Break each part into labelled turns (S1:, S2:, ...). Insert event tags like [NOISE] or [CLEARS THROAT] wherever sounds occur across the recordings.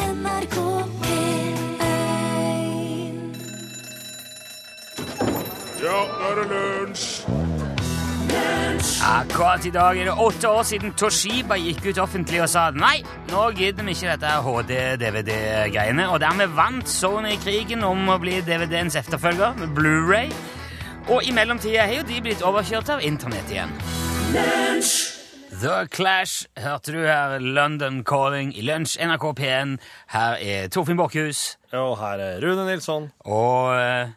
S1: NRK P1
S2: Ja, nå er det lunsj!
S3: Akkurat i dag er det åtte år siden Toshiba gikk ut offentlig og sa nei, nå gidder vi ikke dette HD-DVD-greiene, og dermed vant Sony krigen om å bli DVD-ens etterfølger med Blu-ray. Og i mellomtida har jo de blitt overkjørt av internett igjen. The Clash hørte du her, London Calling i lunsj, NRK P1. Her er Torfinn Borkhus
S4: Og her er Rune Nilsson.
S3: og eh,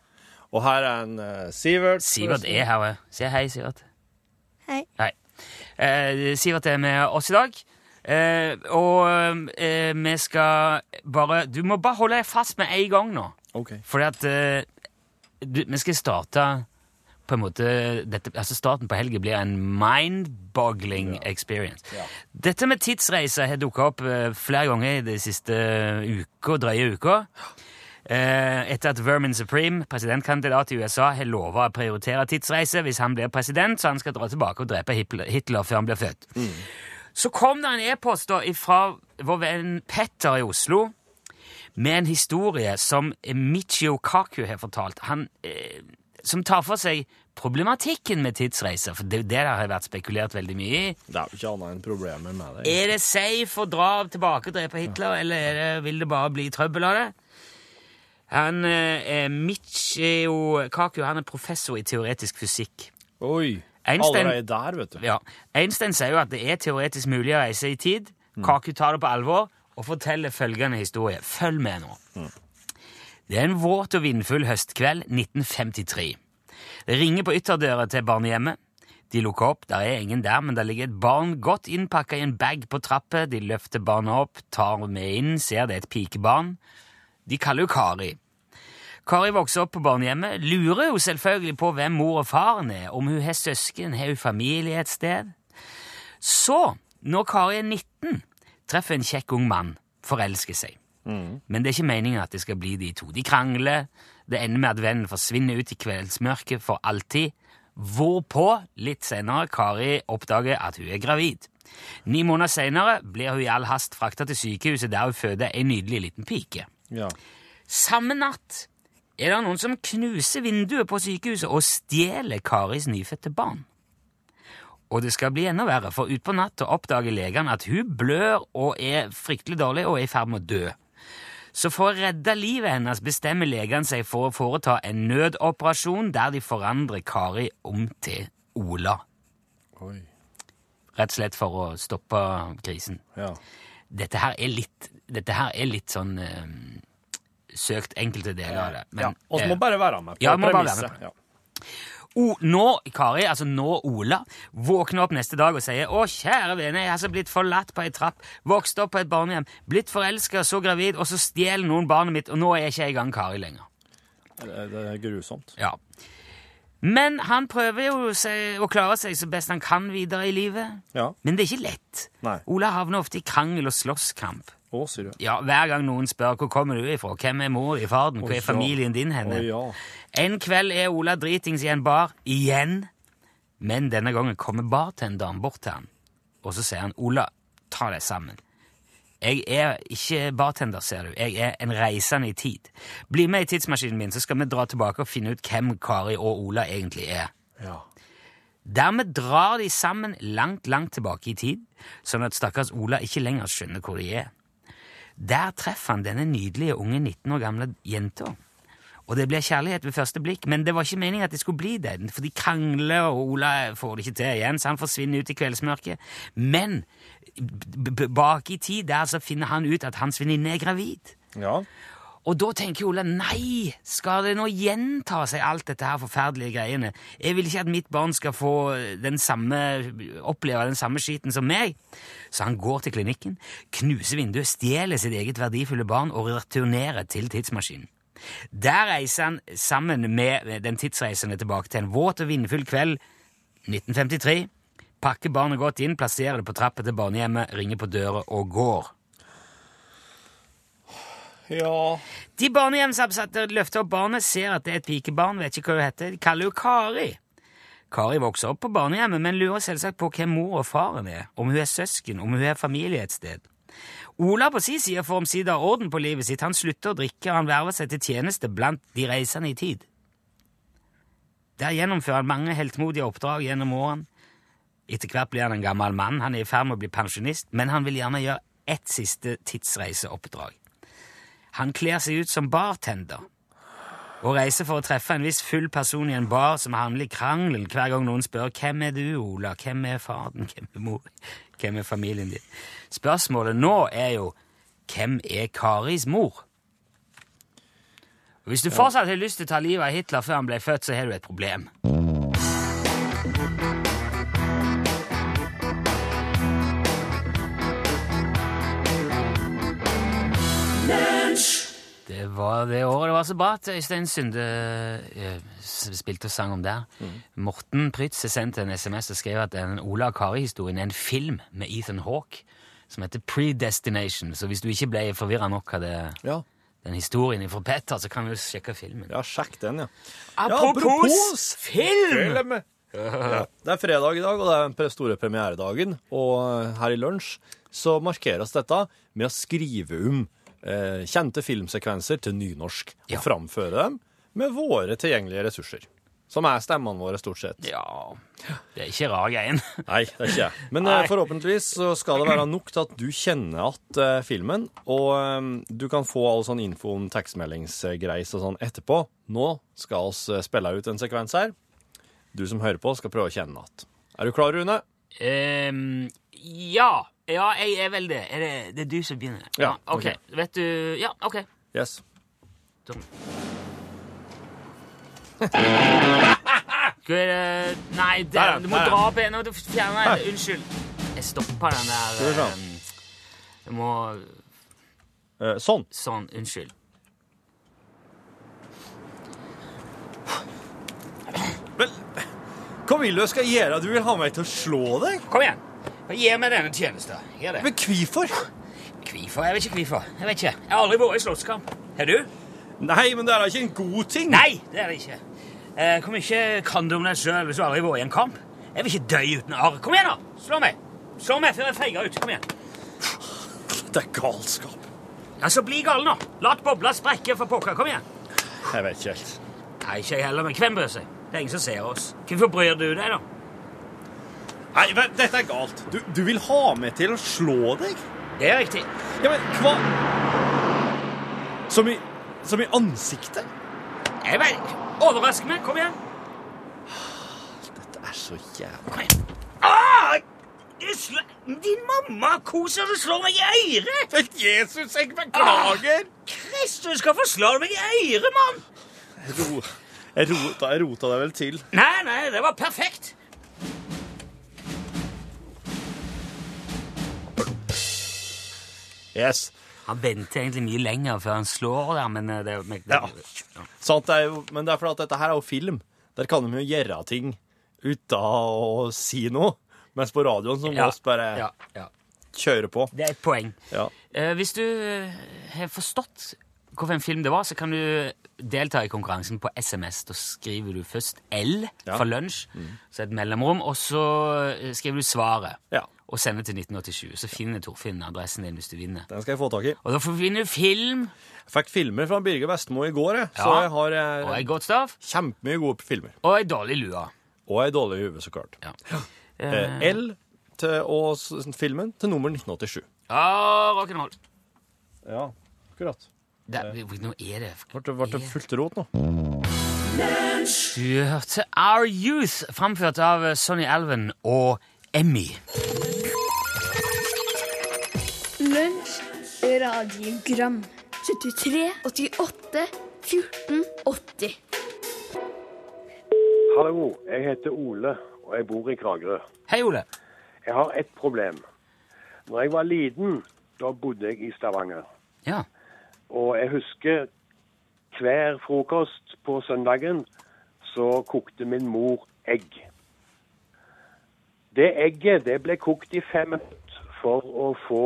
S4: Og her er en eh, Sivert.
S3: Sivert er her. eh. Si hei, Sivert.
S5: Hei.
S3: Eh, Sivert er med oss i dag. Eh, og eh, vi skal bare Du må bare holde deg fast med en gang nå.
S4: Ok.
S3: Fordi at eh, du, vi skal starte på en måte dette, altså Starten på helgen blir en mind-boggling experience. Dette med tidsreiser har dukka opp eh, flere ganger i de siste uka, drøye uka. Eh, etter at Vermin Supreme, presidentkandidat i USA, har lova å prioritere tidsreise hvis han blir president, så han skal dra tilbake og drepe Hitler, Hitler før han blir født. Så kom det en e-post da fra vår venn Petter i Oslo med en historie som Michio Kaku har fortalt. Han, eh, som tar for seg problematikken med tidsreiser, for det, det der har vært spekulert veldig mye i.
S4: Det er jo ikke annet enn problemer med det.
S3: Er det safe å dra tilbake og drepe Hitler, eller er det, vil det bare bli trøbbel av det? Han, eh, er Michio Kaku han er professor i teoretisk fysikk.
S4: Oi!
S3: Einstein-
S4: Allerede der, vet du.
S3: Ja. Einstein sier jo at det er teoretisk mulig å reise i tid. Kaku tar det på alvor og forteller følgende historie. Følg med nå. Det er en våt og vindfull høstkveld 1953. Det ringer på ytterdøra til barnehjemmet. De lukker opp, der er ingen der, men der ligger et barn godt innpakka i en bag på trappa. De løfter barna opp, tar med inn, ser det er et pikebarn. De kaller jo Kari. Kari vokser opp på barnehjemmet, lurer jo selvfølgelig på hvem mor og faren er, om hun har søsken, har hun familie et sted. Så, når Kari er 19, treffer en kjekk ung mann, forelsker seg. Men det er ikke meningen at det skal bli de to. De krangler, det ender med at vennen forsvinner ut i kveldsmørket for alltid, hvorpå, litt senere, Kari oppdager at hun er gravid. Ni måneder senere blir hun i all hast frakta til sykehuset der hun føder en nydelig liten pike.
S4: Ja.
S3: Samme natt er det noen som knuser vinduet på sykehuset og stjeler Karis nyfødte barn. Og det skal bli enda verre, for utpå natta oppdager legene at hun blør og er fryktelig dårlig og er i ferd med å dø. Så for å redde livet hennes bestemmer legene seg for å foreta en nødoperasjon der de forandrer Kari om til Ola,
S4: Oi.
S3: rett og slett for å stoppe krisen
S4: Ja.
S3: dette her er litt, dette her er litt sånn eh, søkt enkelte deler av det.
S4: ja.
S3: Men,
S4: Og
S3: eh,
S4: må bare være med på
S3: ja, må bare være
S4: premisset.
S3: med på-
S4: Ja.
S3: o, nå, Kari, altså nå Ola, våkner opp neste dag og sier Å, kjære vene, jeg har så blitt forlatt på ei trapp, vokst opp på et barnehjem, blitt forelska, så gravid, og så stjeler noen barnet mitt, og nå er jeg ikke engang Kari lenger.
S4: Det det er grusomt.
S3: Ja. Men han prøver jo seg, å klare seg så best han kan videre i livet.
S4: Ja.
S3: Men det er ikke lett.
S4: Nei.
S3: Ola havner ofte i krangel og slåsskamp.
S4: Å, sier du.
S3: Ja, Hver gang noen spør hvor kommer du ifra, hvem er mor i faren, hvor
S4: Oi,
S3: er familien din
S4: Å
S3: henne?
S4: ja.
S3: En kveld er Ola dritings i en bar igjen, men denne gangen kommer bartenderen bort til han, og så sier han Ola, ta deg sammen. Jeg er ikke bartender, ser du. Jeg er en reisende i tid. Bli med i tidsmaskinen min, så skal vi dra tilbake og finne ut hvem Kari og Ola egentlig er.
S4: ja.
S3: Dermed drar de sammen langt, langt tilbake i tid, sånn at stakkars Ola ikke lenger skjønner hvor de er. Der treffer han denne nydelige unge 19 år gamle jenta. Og det blir kjærlighet ved første blikk, men det var ikke meningen at det skulle bli det, for de krangler, og Ola får det ikke til igjen, så han forsvinner ut i kveldsmørket. Men b b bak i tid der så finner han ut at hans venninne er gravid.
S4: Ja.
S3: Og da tenker Ola nei, skal det nå gjenta seg alt dette her forferdelige greiene? Jeg vil ikke at mitt barn skal få eh, den samme, oppleve den samme skiten som meg. Så han går til klinikken, knuser vinduet, stjeler sitt eget verdifulle barn og returnerer til tidsmaskinen. Der reiser han sammen med den tidsreisende tilbake til en våt og vindfull kveld 1953, pakker barnet godt inn, plasserer det på trappa til barnehjemmet, ringer på døra og går. E.
S4: Ja.
S3: De barnehjemsansatte løfter opp barnet, ser at det er et pikebarn, vet ikke hva hun heter. De kaller jo Kari. Kari vokser opp på barnehjemmet, men lurer selvsagt på hvem mor og faren er, om hun er søsken, om hun er familie et sted. Ola på si side får omsider orden på livet sitt. Han slutter å drikke, og han verver seg til tjeneste blant de reisende i tid. Der gjennomfører han mange heltmodige oppdrag gjennom årene. Etter hvert blir han en gammel mann, han er i ferd med å bli pensjonist, men han vil gjerne gjøre ett siste tidsreiseoppdrag. Han kler seg ut som bartender og reiser for å treffe en viss full person i en bar som havner i krangelen hver gang noen spør 'Hvem er du, Ola? Hvem er faren? Hvem er mor? Hvem er familien din?' Spørsmålet nå er jo 'Hvem er Karis mor?' Og Hvis du fortsatt har lyst til å ta livet av Hitler før han ble født, så har du et problem. Det var det året det var så bra at Øystein Sunde eh, s- spilte og sang om der.
S4: Mm.
S3: Morten Prytz sendte en sms og skrev at den Ola og Kari-historien er en film med Ethan Hawke som heter Predestination. Så hvis du ikke ble forvirra nok av det,
S4: Ja.
S3: den historien fra Petter, så kan du jo sjekke filmen.
S4: ja, sjekk den, ja.
S3: Apropos
S4: apropos
S3: film!
S4: Film! Ja. Det er fredag i dag, og det er den pre- store premieredagen. Og eh, her i lunsj så markeres dette med å skrive om eh, kjente filmsekvenser til nynorsk.
S3: Ja.
S4: Og framføre dem med våre tilgjengelige ressurser. Som er stemmene våre, stort sett.
S3: Ja Det er ikke rar greien. [LAUGHS]
S4: Nei, det er ikke jeg. Men eh, forhåpentligvis så skal det være nok til at du kjenner at eh, filmen, og eh, du kan få all sånn info om tekstmeldingsgreis og sånn etterpå. Nå skal oss eh, spille ut en sekvens her. Du som hører på, skal prøve å kjenne at. Er du klar, Rune?
S3: Ehm, ja. Ja, jeg er vel det. Er det, det er du som begynner?
S4: Ja,
S3: ok.
S4: ok.
S3: Vet du Ja, ok.
S4: Yes.
S3: Sånn. Skal jeg, Nei,
S4: Der,
S3: der,
S4: ja.
S3: du må
S4: Der, ja.
S3: dra opp en, og du fjerner den. Unnskyld. Jeg stoppa den der
S4: Skal vi se.
S3: ehm, Jeg må
S4: Eh, sånn.
S3: Sånn. Unnskyld.
S4: Hva vil du jeg skal gjøre? Du vil ha meg til å slå deg?
S3: Kom igjen. Bare Gi meg denne tjenesten. Gjør det.
S4: Men hvorfor?
S3: Hvorfor? Jeg vet ikke hvorfor. Jeg vet ikke. Jeg har aldri vært i slåsskamp. Har du?
S4: Nei, men det er da ikke en god ting.
S3: Nei, det er det ikke. Eh, hvor mye kan du om deg sjøl hvis du aldri har vært i en kamp? Jeg vil ikke dø uten arr. Kom igjen, da! Slå meg! Slå meg før jeg feiger ut. Kom igjen.
S4: Det er galskap.
S3: Altså, bli gal nå. La bobla sprekke for pokker. Kom igjen.
S4: Jeg vet ikke helt.
S3: Nei, ikke jeg heller, men hvem bryr seg? Det er ingen som ser oss. Hvorfor bryr du deg, da?
S4: Nei, men dette er galt. Du, du vil ha meg til å slå deg?
S3: Det er riktig.
S4: Ja, men hva Som i, som i ansiktet?
S3: Jeg vet. Overrask meg. Kom igjen.
S4: Dette er så jævla
S3: Kom igjen. Ah! Du sl Din mamma koser og slår meg i øret!
S4: Jesus, jeg
S3: beklager.
S4: Ah!
S3: Kristus, hvorfor slår du meg i øret, mann?
S4: Ro, jeg, rota, jeg rota deg vel til.
S3: Nei, nei, det var perfekt.
S4: Yes.
S3: Han venter egentlig mye lenger før han slår der, men eh, det, men, det
S4: Ja. Sant, det er jo, men det er fordi at dette her er jo film. Der kan de jo gjøre ting uten å si noe. Mens på radioen så må
S3: Ja,
S4: oss bare
S3: ja, ja.
S4: kjøre på.
S3: Det er et poeng.
S4: Ja.
S3: Eh, hvis du eh, har forstått hvilken film det var, så kan du delta i konkurransen på SMS. Da skriver du først L
S4: Ja. Mm.
S3: for lunsj, så et mellomrom, og så eh, skriver du svaret.
S4: Ja.
S3: Og sender til 1987. Så finner Torfinn adressen din hvis du vinner.
S4: Den skal jeg få tak i.
S3: Og da får du film
S4: Jeg fikk filmer fra Birger Vestmo i går, jeg. så
S3: Ja.
S4: jeg har eh,
S3: og ei godt stav
S4: kjempemye gode filmer.
S3: og ei dårlig lue.
S4: Og ei dårlig i huet, så klart.
S3: Ja.
S4: Eh, L til, og s- filmen til nummer 1987.
S3: Ah, rock'n'roll.
S4: Ja, akkurat.
S3: Der-
S4: Eh.
S3: Nå er det
S4: Ble det, ble det fullt rot nå?
S3: Du hørte Our Youth, framført av Sonny Alven og Emmy.
S1: Lunsj, radiogram 73, 88, 14, 80
S5: Hallo, jeg heter Ole, og jeg bor i Kragerø.
S3: Hei, Ole.
S5: Jeg har ett problem. Når jeg var liten, da bodde jeg i Stavanger.
S3: Ja.
S5: Og jeg husker hver frokost på søndagen, så kokte min mor egg. Det egget det ble kokt i fem minutter for å få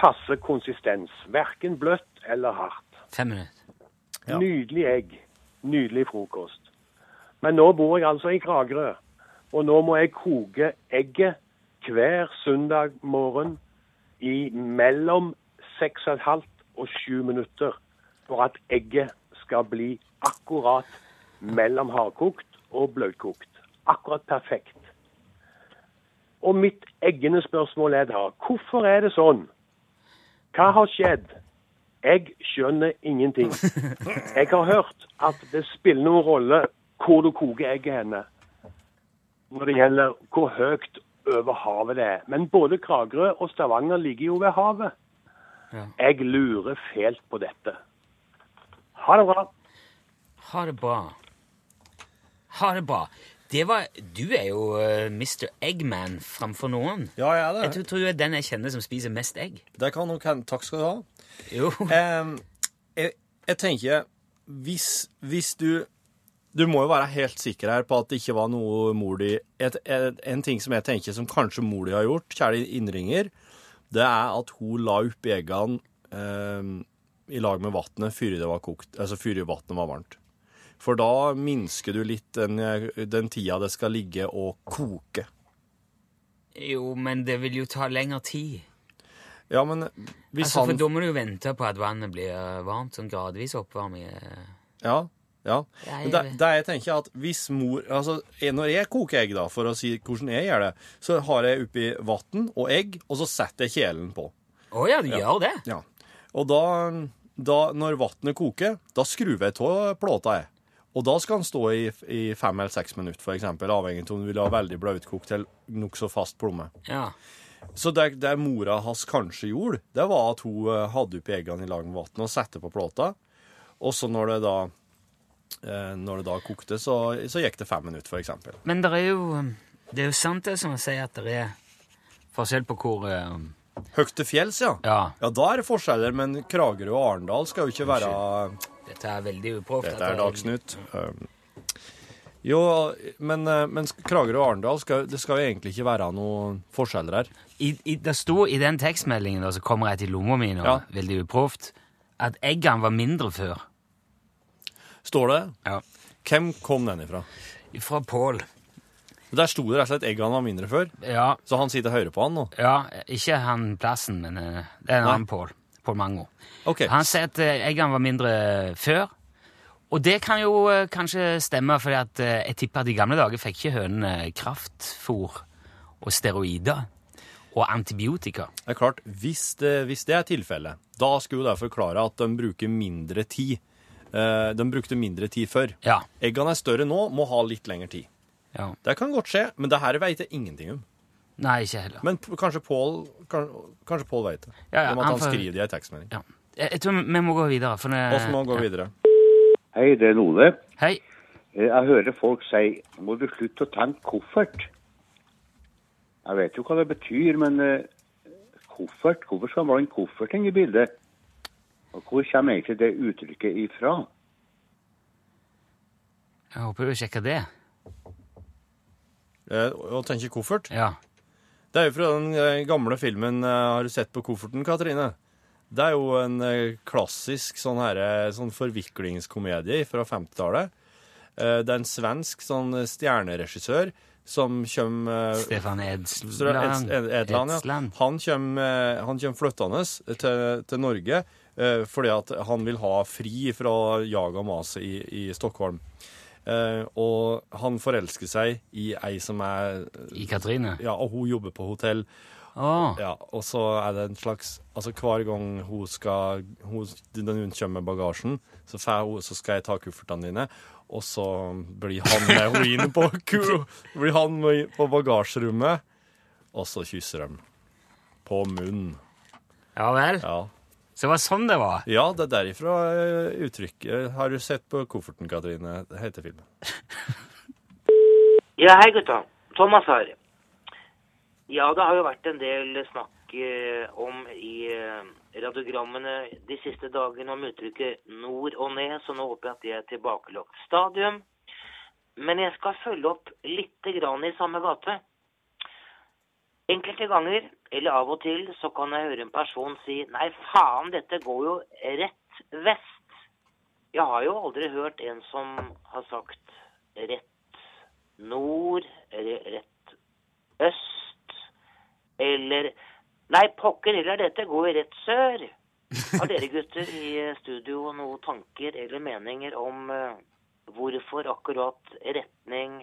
S5: passe konsistens. Verken bløtt eller hardt.
S3: Fem minutter.
S4: Ja.
S5: Nydelig egg. Nydelig frokost. Men nå bor jeg altså i Kragerø, og nå må jeg koke egget hver søndag morgen i mellom 6,5 og 7 minutter for at egget skal bli akkurat mellom hardkokt og bløtkokt. Akkurat perfekt. Og mitt eggende spørsmål er da, hvorfor er det sånn? Hva har skjedd? Jeg skjønner ingenting. Jeg har hørt at det spiller noen rolle hvor du koker egget henne når det gjelder hvor høyt over havet det er. Men både Kragerø og Stavanger ligger jo ved havet. Jeg lurer fælt på dette. Ha det bra.
S3: Ha det bra. Ha det bra. Det var, du er jo eh, Mr. Eggman framfor noen.
S4: Ja, jeg er
S3: Jeg tror, tror jeg er den jeg kjenner som spiser mest egg.
S4: Det kan nok hende. Takk skal du ha.
S3: Jo. [LAUGHS]
S4: Em, jeg, jeg tenker hvis, hvis du Du må jo være helt sikker her på at det ikke var noe mor di et, et, En ting som jeg tenker som kanskje mor di har gjort, kjære innringer, det er at hun la oppi eggene em, i lag med vannet før det var kokt, altså før vannet var varmt. For da minsker du litt den, den tida det skal ligge og koke.
S3: jo, men det vil jo ta lengre tid.
S4: Ja, men hvis
S3: Altså,
S4: han
S3: For da må du jo vente på at vannet blir eh, varmt, sånn gradvis oppvarming. eh.
S4: Ja. ja.
S3: Ja,
S4: Men
S3: jeg
S4: det,
S3: vet.
S4: det jeg tenker at hvis mor altså, jeg- Når jeg koker egg, da, for å si hvordan jeg gjør det, så har jeg oppi vann og egg, og så setter jeg kjelen på.
S3: Å ja, du gjør det?
S4: Ja. Og da, da når vannet koker, da skrur jeg av plata. jeg. Og da skal den stå i, i fem eller seks minutter, for eksempel, avhengig av om du vil ha veldig bløtkokt eller nokså fast plomme.
S3: Ja.
S4: Så det, det mora hans kanskje gjorde, det var at hun eh, hadde oppi eggene i lag med vann og satte på plata. Og så når det da, eh, når det da kokte, så, så gikk det fem minutter, for eksempel.
S3: Men det er jo eh, Det er jo sant det som sier at det er forskjell på hvor eh,
S4: Høgt til fjells, ja.
S3: Ja.
S4: da er det forskjeller, men Kragerø og Arendal skal jo ikke være
S3: Dette er veldig uproft.
S4: Dette er
S3: at det-
S4: Dagsnytt. Um, Jo, men, eh, men Kragerø og Arendal skal, det skal jo egentlig ikke være noen forskjeller her.
S3: I, i, det sto i den tekstmeldingen da, som kom rett i lomma mi nå,
S4: Ja.
S3: veldig uproft, at eggene var mindre før.
S4: Står det?
S3: Ja.
S4: Hvem kom den ifra?
S3: Fra Pål.
S4: Der sto det rett og slett eggene var mindre før,
S3: Ja,
S4: så han sitter og hører på han nå.
S3: ja, ikke han plassen, men eh, det er en
S4: Nei.
S3: annen Pål. Pål Mango.
S4: Ok.
S3: Han sier at eh, eggene var mindre eh, før. Og det kan jo eh, kanskje stemme, for jeg tipper at i gamle dager fikk ikke hønene kraftfôr og steroider og antibiotika.
S4: Det er klart, hvis det, hvis det er tilfellet, da skulle jo det forklare at de bruker mindre tid. Eh, de brukte mindre tid før.
S3: Ja.
S4: Eggene er større nå, må ha litt lengre tid.
S3: ja.
S4: Det kan godt skje, men det her vet jeg ingenting om.
S3: Nei, ikke heller.
S4: Men p- kanskje Pål kan, kanskje Paul vet det.
S3: Ja, ja,
S4: om at
S3: han
S4: han
S3: får-
S4: skriver det i en tekstmelding.
S3: Ja. Jeg, jeg tror vi må gå videre. For det,
S4: Og så må han gå videre.
S6: Hei, det er Lone.
S3: Hei.
S6: Eh, Jeg hører folk si må du slutte å tenke koffert. Jeg vet jo hva det betyr, men eh, koffert, hvorfor skal man blande koffert inn i bildet? Og hvor kommer egentlig det uttrykket ifra?
S3: Jeg håper du sjekker det.
S4: Eh, og- og tenker koffert.
S3: Ja.
S4: Det er jo fra den eh, gamle filmen eh, Har du sett på kofferten, Katrine? Det er jo en eh, klassisk sånn, her, eh, sånn forviklingskomedie fra 50-tallet. Eh, Det er en svensk sånn eh, stjerneregissør som kommer eh,
S3: Stefan
S4: Stra-
S3: Edsland.
S4: Ed- Ed- Edland, ja.
S3: Edsland.
S4: Han kommer flyttende til, til Norge eh, fordi at han vil ha fri fra jag og maset i, i Stockholm. Eh, og han forelsker seg i ei som er
S3: I Katrine.
S4: Ja, og hun jobber på hotell.
S3: Å,
S4: Ja, og så er det en slags Altså hver gang hun skal hun, Når hun kommer med bagasjen Så, får hun, så skal jeg ta kuffertene dine Og så blir han med hun inn på [LAUGHS] ku- Blir han med på bagasjerommet Og så kysser de På munnen
S3: ja vel.
S4: Ja,
S3: Så det var sånn det var.
S4: ja det er derifra eh, uttrykket Har du sett på kofferten, Katrine? Det heter filmen
S7: Ja, hei gutta. Thomas her. Ja, det har jo vært en del snakk eh, om i eh, radiogrammene de siste dagene om uttrykket nord og ned, så nå håper jeg at det er tilbakelagt stadium. Men jeg skal følge opp litt grann i samme gate. Enkelte ganger, eller av og til, så kan jeg høre en person si nei, faen, dette går jo rett vest. Jeg har jo aldri hørt en som har sagt rett nord, re- rett øst, eller Nei, pokker heller, dette går rett sør. Har dere gutter i studio noen tanker eller meninger om eh, hvorfor akkurat retning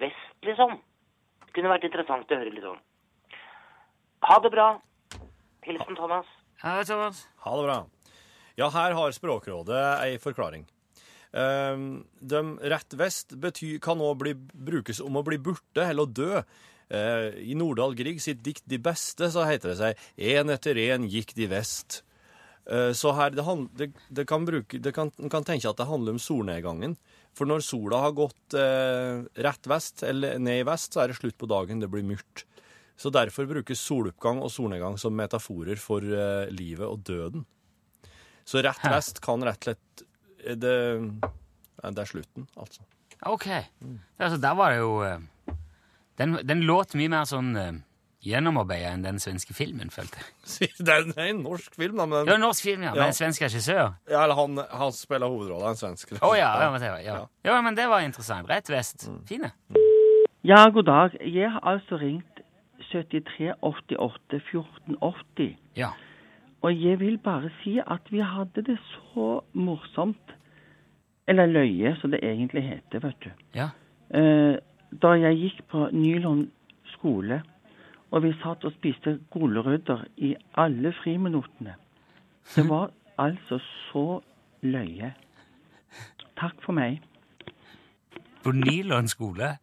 S7: vest, liksom? Det kunne vært interessant å høre litt om. Ha det bra. Hilsen Thomas.
S3: Ja, det er Thomas.
S4: Ha det bra. Ja, her har Språkrådet ei forklaring. Ehm, de rett vest bety, kan òg bli, brukes om å bli borte eller å dø. Eh, I Nordahl Grieg sitt dikt De beste så heter det seg «En etter en gikk de vest'. Eh, så her, det, hand, det, det kan bruke, det kan, en kan tenke at det handler om solnedgangen. For når sola har gått eh, rett vest eller ned i vest, så er det slutt på dagen, det blir mørkt. Så derfor brukes soloppgang og solnedgang som metaforer for eh, livet og døden. Så rett vest kan rett og slett eh, det, eh, det er slutten, altså. [LAUGHS]
S3: Ok.
S4: Mm.
S3: Altså, der var det jo eh, Den, den låt mye mer sånn uh, gjennomarbeida enn den svenske filmen, følte jeg.
S4: Det er det er en norsk film, da, men
S3: Det var en norsk film, ja, med
S4: Ja.
S3: en svensk regissør.
S4: ja, eller han, han spiller hovedrollen, en svensk.
S3: Å ja, ja, men det var, ja. ja, men det var interessant. Rett vest.
S4: Mm.
S3: Fine.
S8: Ja, god dag. Jeg har altså ringt 73 88 14 80.
S3: Ja.
S8: Og jeg vil bare si at vi hadde det så morsomt, eller løye som det egentlig heter, vet du.
S3: Ja.
S8: Eh, Da jeg gikk på Nylund skole, og vi satt og spiste gulrøtter i alle friminuttene. Det var altså så løye. Takk for meg.
S3: På Nylund skole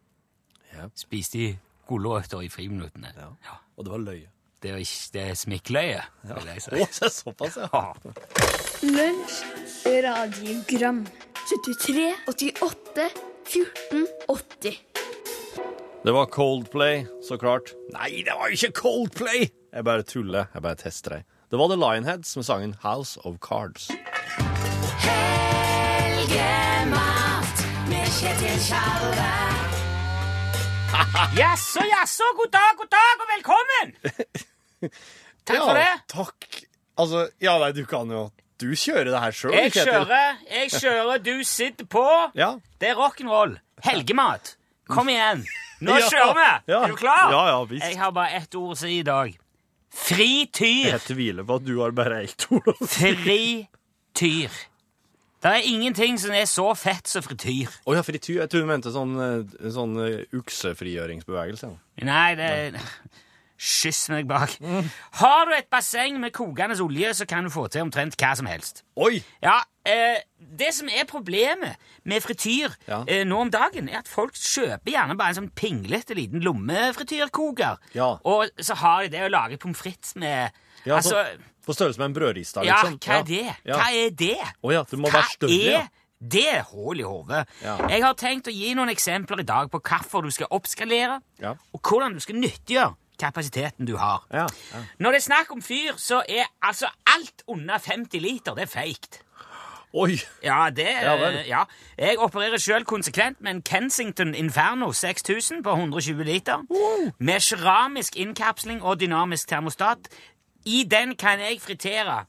S4: Ja.
S3: spiste de gulrøtter i friminuttene.
S4: Ja. Og det var løye.
S3: Det er, ikke, det er smikkløye, vil jeg si.
S4: Å, [LAUGHS] så såpass, ja.
S1: Lunsj, radiogram 73, 88, 14, 80.
S4: Det var Coldplay, så klart. Nei, det var jo ikke Coldplay! Jeg bare tuller. Jeg bare tester deg. Det var The Lionheads med sangen House of Cards.
S3: Jaså, jaså, god dag, god dag og velkommen!
S4: [LAUGHS]
S3: Takk for det.
S4: Takk. Altså, ja, nei, du kan jo Du kjører det her sjøl,
S3: Jeg kjører, jeg kjører, du sitter på.
S4: Ja.
S3: Det er rock'n'roll. Helgemat. Kom igjen. Nå
S4: [LAUGHS] Ja.
S3: kjører vi.
S4: Ja.
S3: Er du klar?
S4: Ja, ja, visst.
S3: Jeg har bare ett ord å si i dag. Frityr.
S4: Jeg tviler på at du har bare ett ord. Å
S3: Frityr. Det er ingenting som er så fett som frityr.
S4: ja, frityr. Jeg trodde du mente sånn, eh, sånn eh, uksefrigjøringsbevegelse.
S3: Nei, det er Skyss meg bak.
S4: Mm.
S3: Har du et basseng med kokende olje, så kan du få til omtrent hva som helst.
S4: Oi!
S3: Ja, eh, Det som er problemet med frityr
S4: Ja.
S3: eh, nå om dagen, er at folk kjøper gjerne bare en sånn pinglete liten lommefrityrkoker.
S4: Ja.
S3: Og så har de det å lage pommes frites med
S4: Ja,
S3: Altså,
S4: sånn på størrelse med en brødrista,
S3: ja,
S4: liksom.
S3: hva er det?
S4: Ja.
S3: Hva er det?
S4: Å ja, det må
S3: hva
S4: være større, ja.
S3: er det hull i hodet?
S4: Ja.
S3: Jeg har tenkt å gi noen eksempler i dag på hvorfor du skal oppskalere,
S4: Ja.
S3: og hvordan du skal nyttiggjøre kapasiteten du har.
S4: Ja, ja.
S3: Når det er snakk om fyr, så er altså alt under 50 liter det er feigt.
S4: Oi!
S3: Ja, det
S4: Ja vel.
S3: eh, ja. Jeg opererer sjøl konsekvent med en Kensington Inferno 6000 på 120 liter. Med keramisk innkapsling og dynamisk termostat. I den kan jeg fritere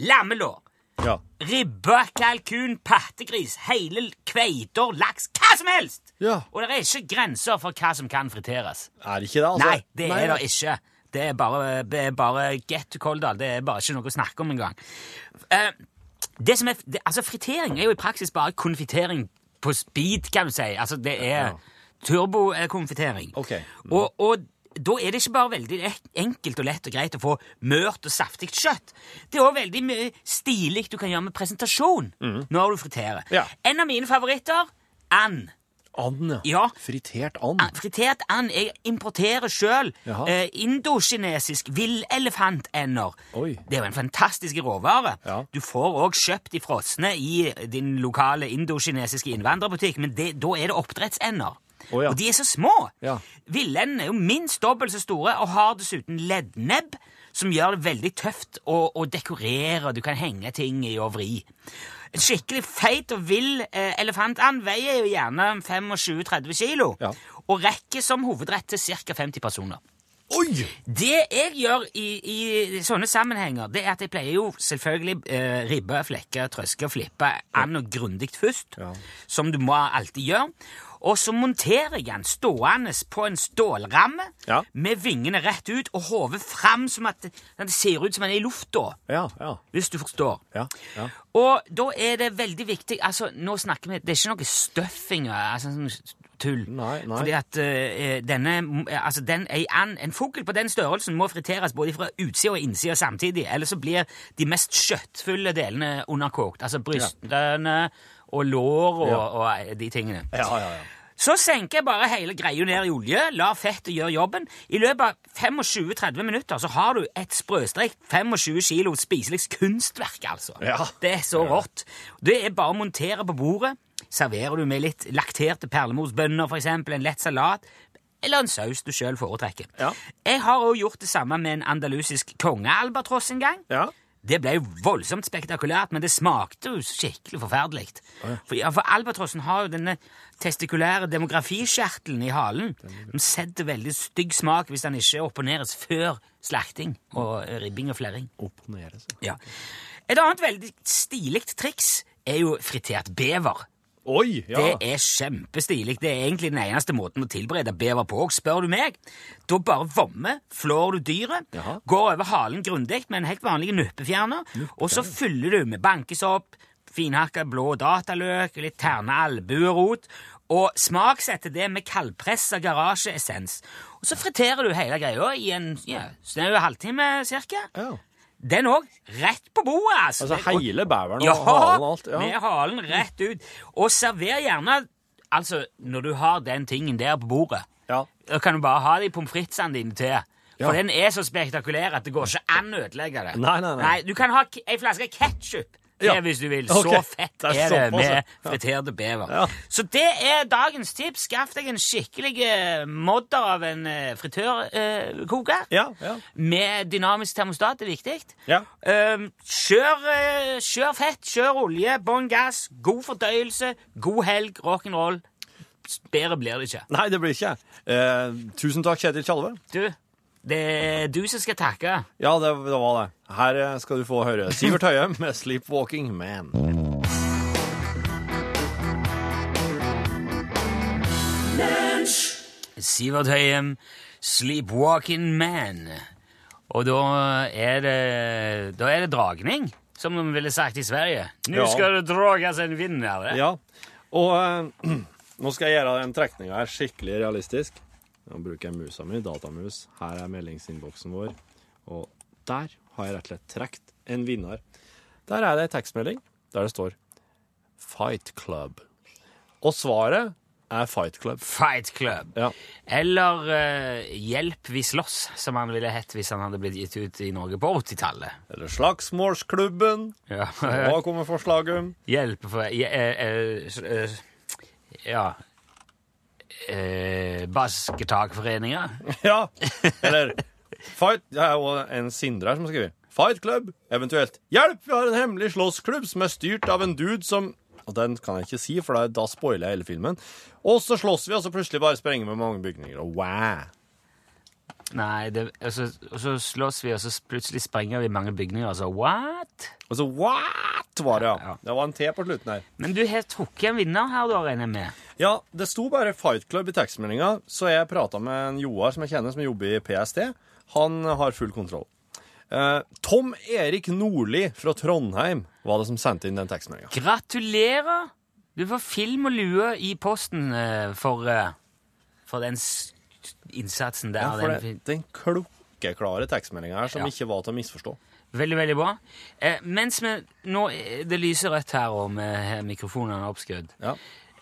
S3: lammelår,
S4: Ja.
S3: ribbe, kalkun, pattegris, hele kveiter, laks, hva som helst!
S4: Ja.
S3: Og det er ikke grenser for hva som kan friteres.
S4: Er det ikke det, altså?
S3: Nei, det er det ikke. Det er bare, det er bare get to Koldal. Det er bare ikke noe å snakke om engang. Eh, det som er, det, altså Fritering er jo i praksis bare konfitering på speed, kan du si. Altså Det er turbokonfitering.
S4: Ok.
S3: Og, og da er det ikke bare veldig ek- enkelt og lett og greit å få mørt og saftig kjøtt. Det er òg veldig mye stilig du kan gjøre med presentasjon når du friterer.
S4: Mhm. Ja.
S3: En av mine favoritter and.
S4: And,
S3: Ja.
S4: Fritert and.
S3: An- Fritert and. Jeg importerer sjøl
S4: Jaha.
S3: eh, indokinesisk villelefantender.
S4: Oi.
S3: Det er jo en fantastisk råvare.
S4: Ja.
S3: Du får òg kjøpt de frosne i din lokale indokinesiske innvandrerbutikk, men det, da er det oppdrettsender.
S4: Å ja.
S3: Og de er så små!
S4: Ja.
S3: Villendene er jo minst dobbelt så store og har dessuten leddnebb, som gjør det veldig tøft å, å dekorere. Du kan henge ting i og vri. En skikkelig feit og vill eh, elefantand veier jo gjerne 25-30 kilo,
S4: Ja.
S3: og rekker som hovedrett til ca. 50 personer.
S4: Oi!
S3: Det jeg gjør i, i sånne sammenhenger, det er at jeg pleier jo selvfølgelig eh, ribbe, flekke, trøske og flippe and og grundig først, som du må alltid gjøre. Og så monterer jeg den stående på en stålramme
S4: Ja.
S3: med vingene rett ut og hodet fram, som at den ser ut som den er i lufta,
S4: Ja, ja,
S3: hvis du forstår.
S4: ja, ja.
S3: Og da er det veldig viktig altså, Nå snakker vi Det er ikke noe støffing altså, sånn tull.
S4: Nei, nei.
S3: Fordi at eh, denne altså, den, ei and, En fugl på den størrelsen må friteres både fra utsida og innsida samtidig. Ellers så blir de mest kjøttfulle delene underkokt. Altså brystene og lår og, og de tingene.
S4: ja, ja, ja.
S3: Så senker jeg bare hele greia ned i olje, lar fettet gjøre jobben. I løpet av 25-30 minutter så har du et sprøstrekt 25 kilo spiselig kunstverk, altså.
S4: Ja.
S3: Det er så rått. Det er bare å montere på bordet. Serverer du med litt lakterte perlemorsbønner, for eksempel, en lett salat, eller en saus du sjøl foretrekker.
S4: Ja.
S3: Jeg har òg gjort det samme med en andalusisk kongealbatross en gang.
S4: ja.
S3: Det ble jo voldsomt spektakulært, men det smakte jo skikkelig forferdelig. For, ja, for albatrossen har jo denne testikulære demografikjertelen i halen. Den setter veldig stygg smak hvis den ikke opponeres før slakting og eh, ribbing og flering.
S4: Opp og ned. altså.
S3: Ja. Et annet veldig stilig triks er jo fritert bever.
S4: Oi! Ja.
S3: Det er kjempestilig. Det er egentlig den eneste måten å tilberede bever på. Og spør du meg, da bare vommer, flår du dyret,
S4: Jaha.
S3: går over halen grundig med en helt vanlig nuppefjerner, og så fyller du med bankesopp, finhakka blå dataløk, litt terne albuerot, og smaksetter det med kaldpressa garasjeessens. Og så friterer du hele greia i en ja, snau halvtime cirka.
S4: Ja.
S3: Den òg, rett på bordet! altså.
S4: Altså
S3: Og-
S4: hele beveren og
S3: ja,
S4: halen og alt. Ja.
S3: med halen rett ut. Og server gjerne Altså, når du har den tingen der på bordet,
S4: Ja.
S3: da kan du bare ha de pommes fritesene dine til. For
S4: Ja.
S3: den er så spektakulær at det går ikke an å ødelegge det.
S4: Nei, nei, nei.
S3: Du kan ha k- ei flaske ketsjup
S4: Ja.
S3: hvis du vil.
S4: Ok.
S3: Så fett
S4: Det
S3: er,
S4: er
S3: det
S4: såpass, ja.
S3: med friterte bever.
S4: Ja.
S3: Så det er dagens tips. Skaff deg en skikkelig eh, modder av en eh, fritørkoker
S4: Ja, ja.
S3: med dynamisk termostat er viktig.
S4: Ja.
S3: Ehm, kjør, eh, kjør fett, kjør olje, bånn gass, god fordøyelse, god helg, rock'n'roll. S- Bedre blir det ikke.
S4: Nei, det blir ikke jeg. Eh, tusen takk, Kjetil Tjalve.
S3: Du, det er du som skal takke.
S4: Ja, det, det var det. Her eh, skal du få høre Sivert Høie [LAUGHS] med 'Sleepwalking Man'.
S3: Sivert Høyem, Sleepwalking Man. Og da er det, da er det dragning, som de ville sagt i Sverige. Nå
S4: Ja.
S3: skal det dragas en vinner. eh?
S4: Ja. Og eh, [CLEARS THROAT] nå skal jeg gjøre den trekninga her skikkelig realistisk. Nå bruker jeg musa mi, datamus. Her er meldingsinnboksen vår. Og der har jeg rett og slett trukket en vinner. Der er det ei tekstmelding der det står Fight Club. Og svaret er Fight Club.
S3: Fight Club.
S4: Ja.
S3: Eller eh, Hjelp vi slåss, som han ville hett hvis han hadde blitt gitt ut i Norge på 80-tallet.
S4: Eller Slagsmålsklubben. [LAUGHS]
S3: Ja.
S4: Hva kommer forslaget?
S3: Hjelp for je- eh, eh, s- eh, Ja eh, Basketagforeninga?
S4: Ja. Eller Fight Det er jo en Sindre her som skriver. Fight Club, eventuelt. Hjelp! Vi har en hemmelig slåssklubb som er styrt av en dude som Og den kan jeg ikke si, for da- da spoiler jeg hele filmen. Og så slåss vi, og så plutselig bare sprenger vi mange bygninger. Og wow!
S3: Nei, det, og, så, og så slåss vi, og så plutselig sprenger vi mange bygninger. Altså, what?
S4: Og så what var det, ja.
S3: Ja.
S4: Det var en T på slutten her.
S3: Men du har trukket en vinner her, da, regner jeg med.
S4: Ja, det sto bare Fight Club i tekstmeldinga, så jeg prata med en Joar som jeg kjenner, som jobber i PST. Han har full kontroll. Eh, Tom Erik Nordli fra Trondheim var det som sendte inn den tekstmeldinga.
S3: Gratulerer! Du får film og lue i posten eh, for, eh, for den s- innsatsen der.
S4: Ja, for
S3: den
S4: det,
S3: fil-
S4: den klokkeklare tekstmeldinga her som
S3: Ja.
S4: ikke var til å misforstå.
S3: Veldig, veldig bra. Eh, mens vi nå eh, Det lyser rødt her, og vi har mikrofonene oppskrudd.
S4: Ja.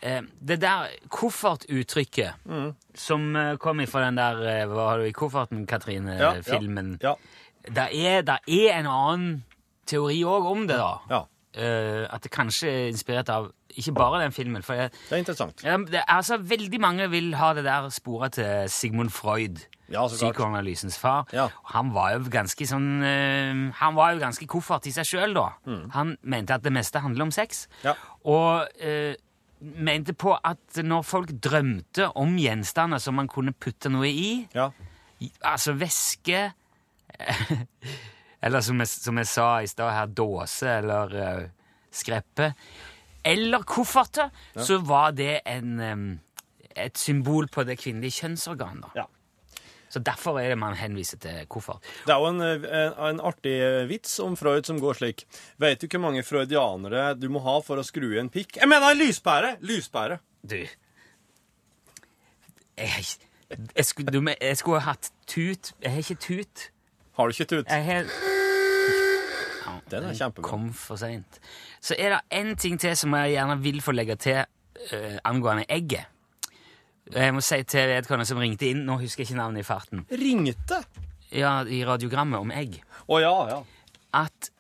S3: Eh, det der koffertuttrykket
S4: Mm.
S3: som eh, kom ifra den der eh, Hva har du i kofferten,
S4: Ja,
S3: Katrine-filmen
S4: Ja,
S3: Der, er, der er en annen teori òg om det, da.
S4: ja, ja,
S3: Eh, at det kanskje er inspirert av ikke bare den filmen. For jeg,
S4: det er interessant.
S3: ja, det, altså, veldig mange vil ha det der sporet til Sigmund Freud.
S4: Ja, så klart.
S3: Psykoanalysens far.
S4: Ja.
S3: Og Han var jo ganske sånn eh, Han var jo ganske koffert i seg sjøl, da. Han mente at det meste handler om sex.
S4: Mm. Ja.
S3: Og eh, mente på at når folk drømte om gjenstander som man kunne putte noe i,
S4: Ja,
S3: i- altså væske eh, [LAUGHS] Eller som jeg, som jeg sa i stad her, dåse eller eh, skreppe. Eller kofferter, så var det en em, et symbol på det kvinnelige kjønnsorgan. da.
S4: Ja.
S3: Så derfor er det man henviser til koffert.
S4: Det er jo en, en, en artig vits om Freud som går slik. Vet du hvor mange freudianere du må ha for å skru i en pikk? Jeg mener en lyspære! Lyspære.
S3: Du Jeg, jeg, skulle, du, jeg skulle ha hatt tut. Jeg har ikke tut.
S4: Har du ikke tut?
S3: Jeg har
S4: Den er kjempebra.
S3: kom for sent. Så er det én ting til som jeg gjerne vil få legge til eh, angående egget. Jeg må si til vedkommende som ringte inn, nå husker jeg ikke navnet i farten,
S4: Ringte?
S3: Ja, i radiogrammet om egg,
S4: Å ja, ja.
S3: at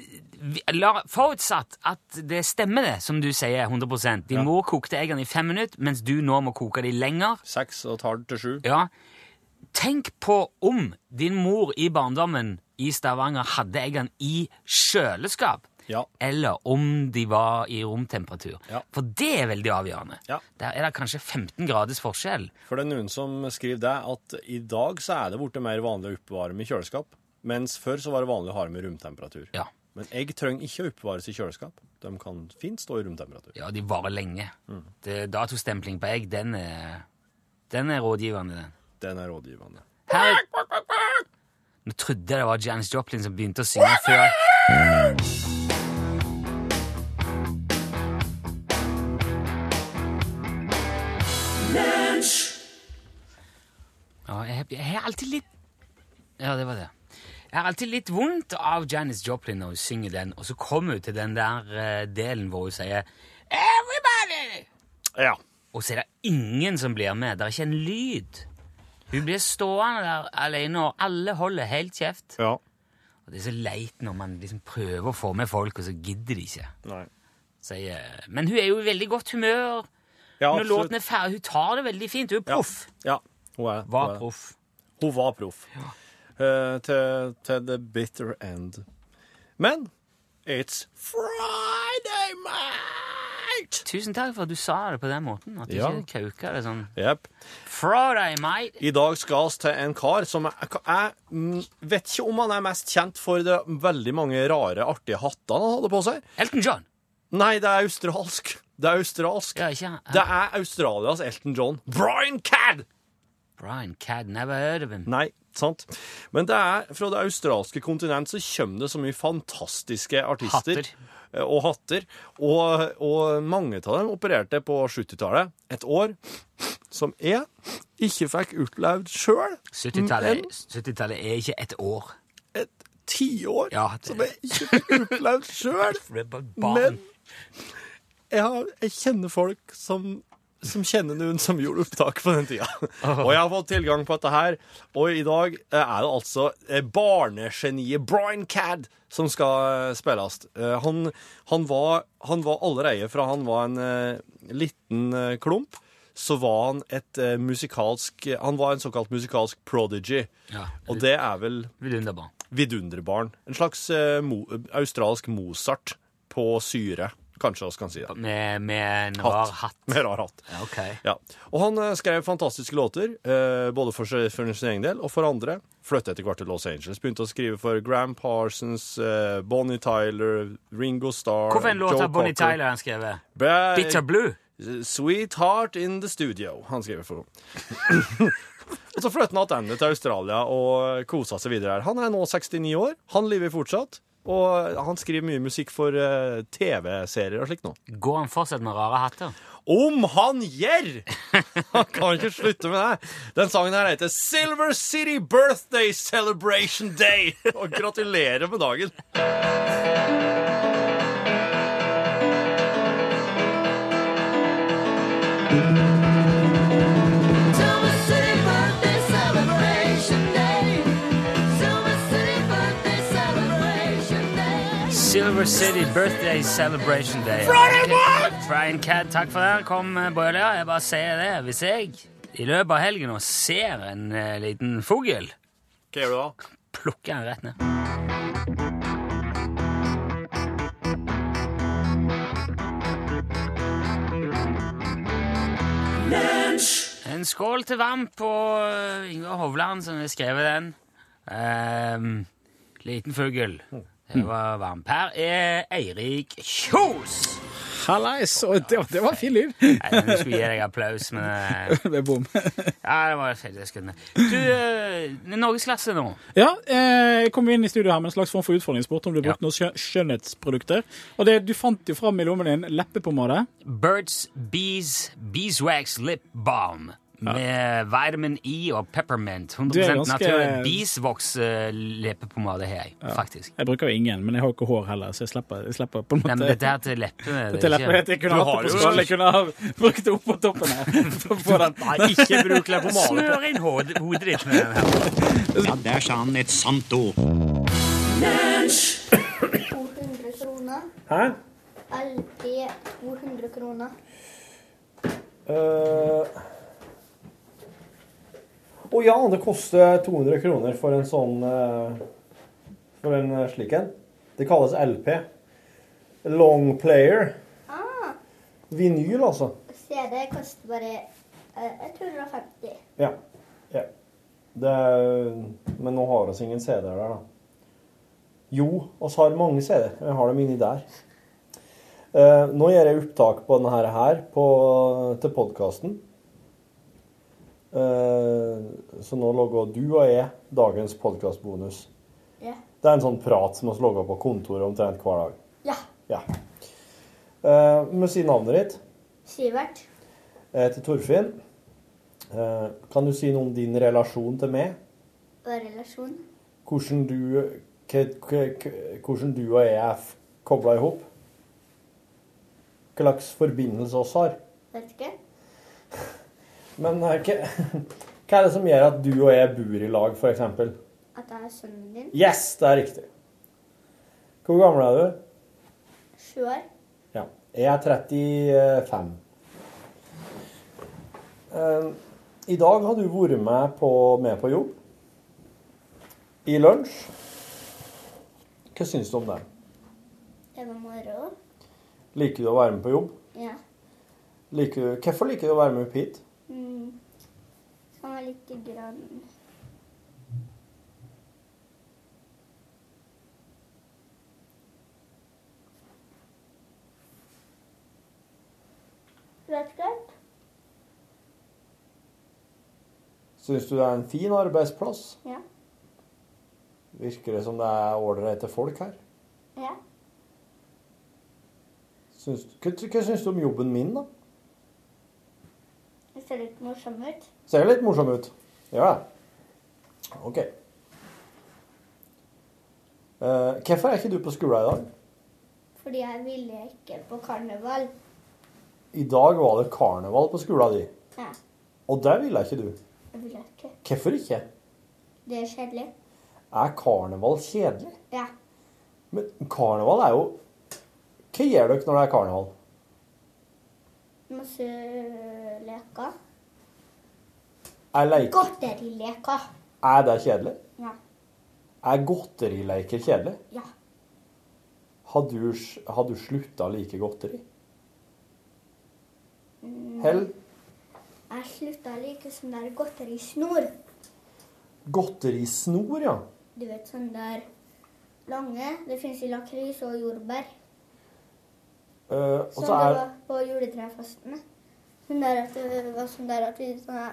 S3: eh, vi- la, Forutsatt at det stemmer, det, som du sier, 100 Din mor kokte eggene i fem minutter, mens du nå må koke de lenger.
S4: Seks og et halvt til sju.
S3: Ja, Tenk på om din mor i barndommen i Stavanger hadde eggene i kjøleskap,
S4: Ja.
S3: eller om de var i romtemperatur.
S4: Ja.
S3: For det er veldig avgjørende.
S4: Ja.
S3: Der er det kanskje 15 graders forskjell.
S4: For det er noen som skriver det, at i dag så er det blitt mer vanlig å oppbevare med kjøleskap, mens før så var det vanlig å ha det med romtemperatur.
S3: Ja,
S4: Men egg trenger ikke å oppbevares i kjøleskap. De kan fint stå i romtemperatur.
S3: ja de varer lenge.
S4: Mm.
S3: Det, datostempling på egg, den er, den er rådgivende, den.
S4: Den er rådgivende.
S3: Her... Nå trodde jeg det var Janis Joplin som begynte å synge før. Ja, jeg, jeg har alltid litt Ja, det var det. Jeg har alltid litt vondt av Janis Joplin når hun synger den, og så kommer hun til den der eh, delen hvor hun sier Everybody!
S4: Ja.
S3: Og så er det ingen som blir med. Det er ikke en lyd. Hun blir stående der alene, og alle holder helt kjeft.
S4: Ja.
S3: Og Det er så leit når man liksom prøver å få med folk, og så gidder de ikke.
S4: Nei.
S3: Så jeg, men hun er jo i veldig godt humør.
S4: Ja,
S3: Når låten er ferdig, Hun tar det veldig fint. Hun er proff.
S4: Ja. Hun er, hun
S3: Var
S4: er-
S3: proff.
S4: Hun var proff. Eh, til, til the bitter end. Men it's Friday, mate!
S3: Tusen takk for at du sa det på den måten. At du
S4: Ja.
S3: ikke kauka det sånn.
S4: Jepp.
S3: Friday, mate!
S4: I dag skal vi til en kar som jeg, jeg mm, vet ikke om han er mest kjent for det veldig mange rare, artige hattene han hadde på seg.
S3: Elton John!
S4: Nei, det er australsk. Det er australsk.
S3: Ja, ikke han.
S4: Det er Australias Elton John. Brian Cadd!
S3: Brian Cadd, never heard of him.
S4: Nei, sant. Men det er, fra det australske kontinent så kommer det så mye fantastiske artister.
S3: Hatter.
S4: eh, Og hatter. Og, og mange av dem opererte på 70-tallet. Et år som jeg ikke fikk opplevd sjøl.
S3: 70-tallet 70-tallet er ikke et år.
S4: Men et tiår
S3: Ja, det-
S4: som jeg ikke fikk opplevd sjøl.
S3: For det er bare barn.
S4: Men jeg, har, jeg kjenner folk som, som kjenner noen som gjorde opptak på den tida. Og jeg har fått tilgang på dette her. Og i dag eh, er det altså eh, barnegeniet Brian Cadd som skal eh, spilles. Eh, Han, han, var, han var allerede fra han var en eh, liten eh, klump. Så var han et eh, musikalsk Han var en såkalt musikalsk prodigy.
S3: Ja.
S4: Og det er vel
S3: Vidunderbarn.
S4: vidunderbarn. En slags eh, mo australsk Mozart på syre, kanskje vi kan si det.
S3: Med, med en
S4: Hatt.
S3: rar hatt.
S4: Med rar hatt.
S3: Ja, Ok.
S4: Ja. Og han eh, skrev fantastiske låter, eh, både for, seg, for sin egen del og for andre. Flyttet etter hvert til Los Angeles. Begynte å skrive for Gram Parsons, eh, Bonnie Tyler, Ringo Starr
S3: Hvorfor en låt
S4: Joe
S3: av Bonnie
S4: Cocker.
S3: Tyler han skrevet?
S4: Bra-
S3: Bitter Blue?
S4: Sweetheart in the studio, han skriver for [LAUGHS] henne. og så flytter han tilbake til Australia og koser seg videre her. Han er nå 69 år, han lever fortsatt, og han skriver mye musikk for eh, TV-serier og slikt nå.
S3: Går han fortsatt med rare hatter?
S4: Om han gjør! Han kan ikke slutte med det. Den sangen her heter Silver City Birthday Celebration Day. [LAUGHS] Og gratulerer med dagen.
S3: Silver City Birthday Celebration Day. Friday Brian Cadd, takk for det. Kom, eh, broiler. Jeg bare sier det. Hvis jeg i løpet av helgen nå ser en eh, liten fugl,
S4: Hva gjør du da?
S3: plukker jeg den rett ned. En skål til Vamp og eh, Yngvar Hovland, som har skrevet den. Ehm, liten fugl. Det var Vamp. Her er Eirik Kjos.
S9: Hallais! Og det, det var fin lyd!
S3: Nei, men jeg skulle gi deg applaus, men eh,
S9: [LAUGHS] Det er bom.
S3: ja, det var veldig skummelt. Du, eh, norgesklasse nå.
S9: Ja, eh, jeg kom inn i studio her med en slags form for utfordringssport om du brukte
S3: Ja.
S9: noen skjø- skjønnhetsprodukter. Og det, du fant jo fram i lommen din leppepomade.
S3: Birds Bees Beeswax Lip Balm. Med vitamin E og peppermint. 100
S9: ganske-
S3: naturlig eh, beesvox-leppepomade har jeg, faktisk.
S9: Jeg bruker jo ingen, men jeg har jo ikke hår heller, så jeg slipper, jeg slipper på en måte
S3: Nei, men dette her til leppene det
S9: Dette er
S3: er ikke-
S9: leppene jeg kunne
S10: Du
S9: hatt
S10: har
S9: det på
S10: jo-
S9: skallen. Jeg kunne ha brukt det opp på toppen
S3: [LAUGHS]
S9: her. for å få den.
S10: Nei, ikke bruk leppepomade på.
S3: Smør inn hodet, hodet ditt med den her.
S11: Ja, der sa han et sant ord.
S12: 200 kroner. Hæ? Alltid 200 kroner.
S4: Eh, Å ja, det koster 200 kroner for en sånn eh, For en eh, slik en. Det kalles LP. Long player. Vinyl, altså.
S12: CD koster bare eh, 150.
S4: Ja. ja. Det er, men nå har vi ingen CD-er der, da. Jo, oss har mange CD-er. men Jeg har dem inni der. Eh, nå gjør jeg opptak på denne her- her på, til podkasten. Eh, så nå lager du og jeg dagens podkastbonus.
S12: Ja.
S4: Det er en sånn prat som vi lager på kontoret omtrent hver dag.
S12: Ja.
S4: Ja. Eh, må si navnet ditt.
S12: Sivert.
S4: Jeg heter Torfinn. Eh, kan du si noe om din relasjon til meg?
S12: Og relasjon.
S4: hvordan du, k- k- k- hvordan du og jeg er kobla i hop. Hva slags forbindelse oss har.
S12: Vet ikke.
S4: Men eh, hva, [LAUGHS] hva er det som gjør at du og jeg bor i lag, f.eks.?
S12: At jeg er sønnen din.
S4: Yes, det er riktig. Hvor gammel er du?
S12: Sju år.
S4: Ja. Jeg er 35. Eh, I dag har du vært med på, med på jobb. I lunsj. Hva syns du om det?
S12: Det var moro.
S4: Liker du å være med på jobb?
S12: Ja.
S4: Liker du, hvorfor liker du å være med opp hit?
S12: Mm. Han var litt grann Vet ikke.
S4: Syns du det er en fin arbeidsplass?
S12: Ja.
S4: Virker det som det er ålreite folk her?
S12: Ja.
S4: Syns, hva, hva syns du om jobben min, da?
S12: Det ser litt morsom ut.
S4: Ser litt morsom ut. Gjør det? OK. Eh, hvorfor er ikke du på skolen i dag?
S12: Fordi jeg ville ikke på karneval.
S4: I dag var det karneval på skolen din,
S12: Ja,
S4: og der ville ikke du.
S12: jeg ville ikke.
S4: Hvorfor ikke?
S12: Det er kjedelig.
S4: Er karneval kjedelig?
S12: Ja.
S4: Men karneval er jo Hva gjør dere når det er karneval?
S12: Masse leker.
S4: Er, leik,
S12: Godterileker.
S4: er det kjedelig?
S12: Ja.
S4: Er godterileker kjedelig?
S12: Ja.
S4: Har du, har du slutta å like godteri? Hell,
S12: Jeg slutta å like sånn der godterisnor.
S4: godterisnor, ja.
S12: Du vet sånn der lange. Det fins i lakris og jordbær.
S4: Eh, og
S12: Sånn
S4: så
S12: det
S4: er
S12: var på juletrefastene. Sånn der at det var sånn der at vi sånn der,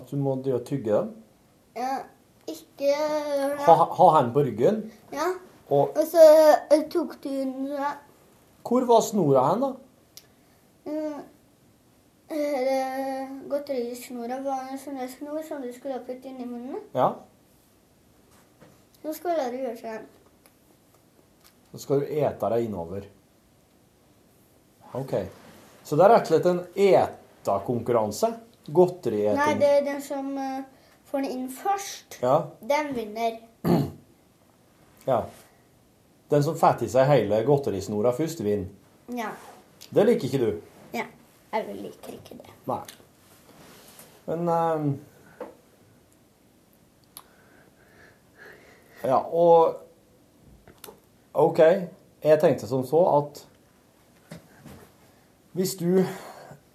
S4: at du må drive og tygge den.
S12: ja, Ikke
S4: Ha, ha hendene på ryggen.
S12: Ja.
S4: Og
S12: Og så eh, tok du den sånn der,
S4: hvor var snora hen, da?
S12: Mm. Eh, Godterisnora var en sånn der snor som du skulle putte inn i munnen.
S4: Ja,
S12: Så skulle du gjøre sånn.
S4: så skal du ete deg innover. OK. Så det er rett og slett en etakonkurranse?
S12: Nei,
S4: Godterieting?
S12: det er den som eh, får den inn først,
S4: Ja,
S12: den vinner.
S4: ja. Den som fatter i seg hele godterisnora først, vinner.
S12: Ja.
S4: Det liker ikke du.
S12: ja. Jeg liker ikke det.
S4: Nei. Men ehm, Ja, og OK. Jeg tenkte som så at hvis du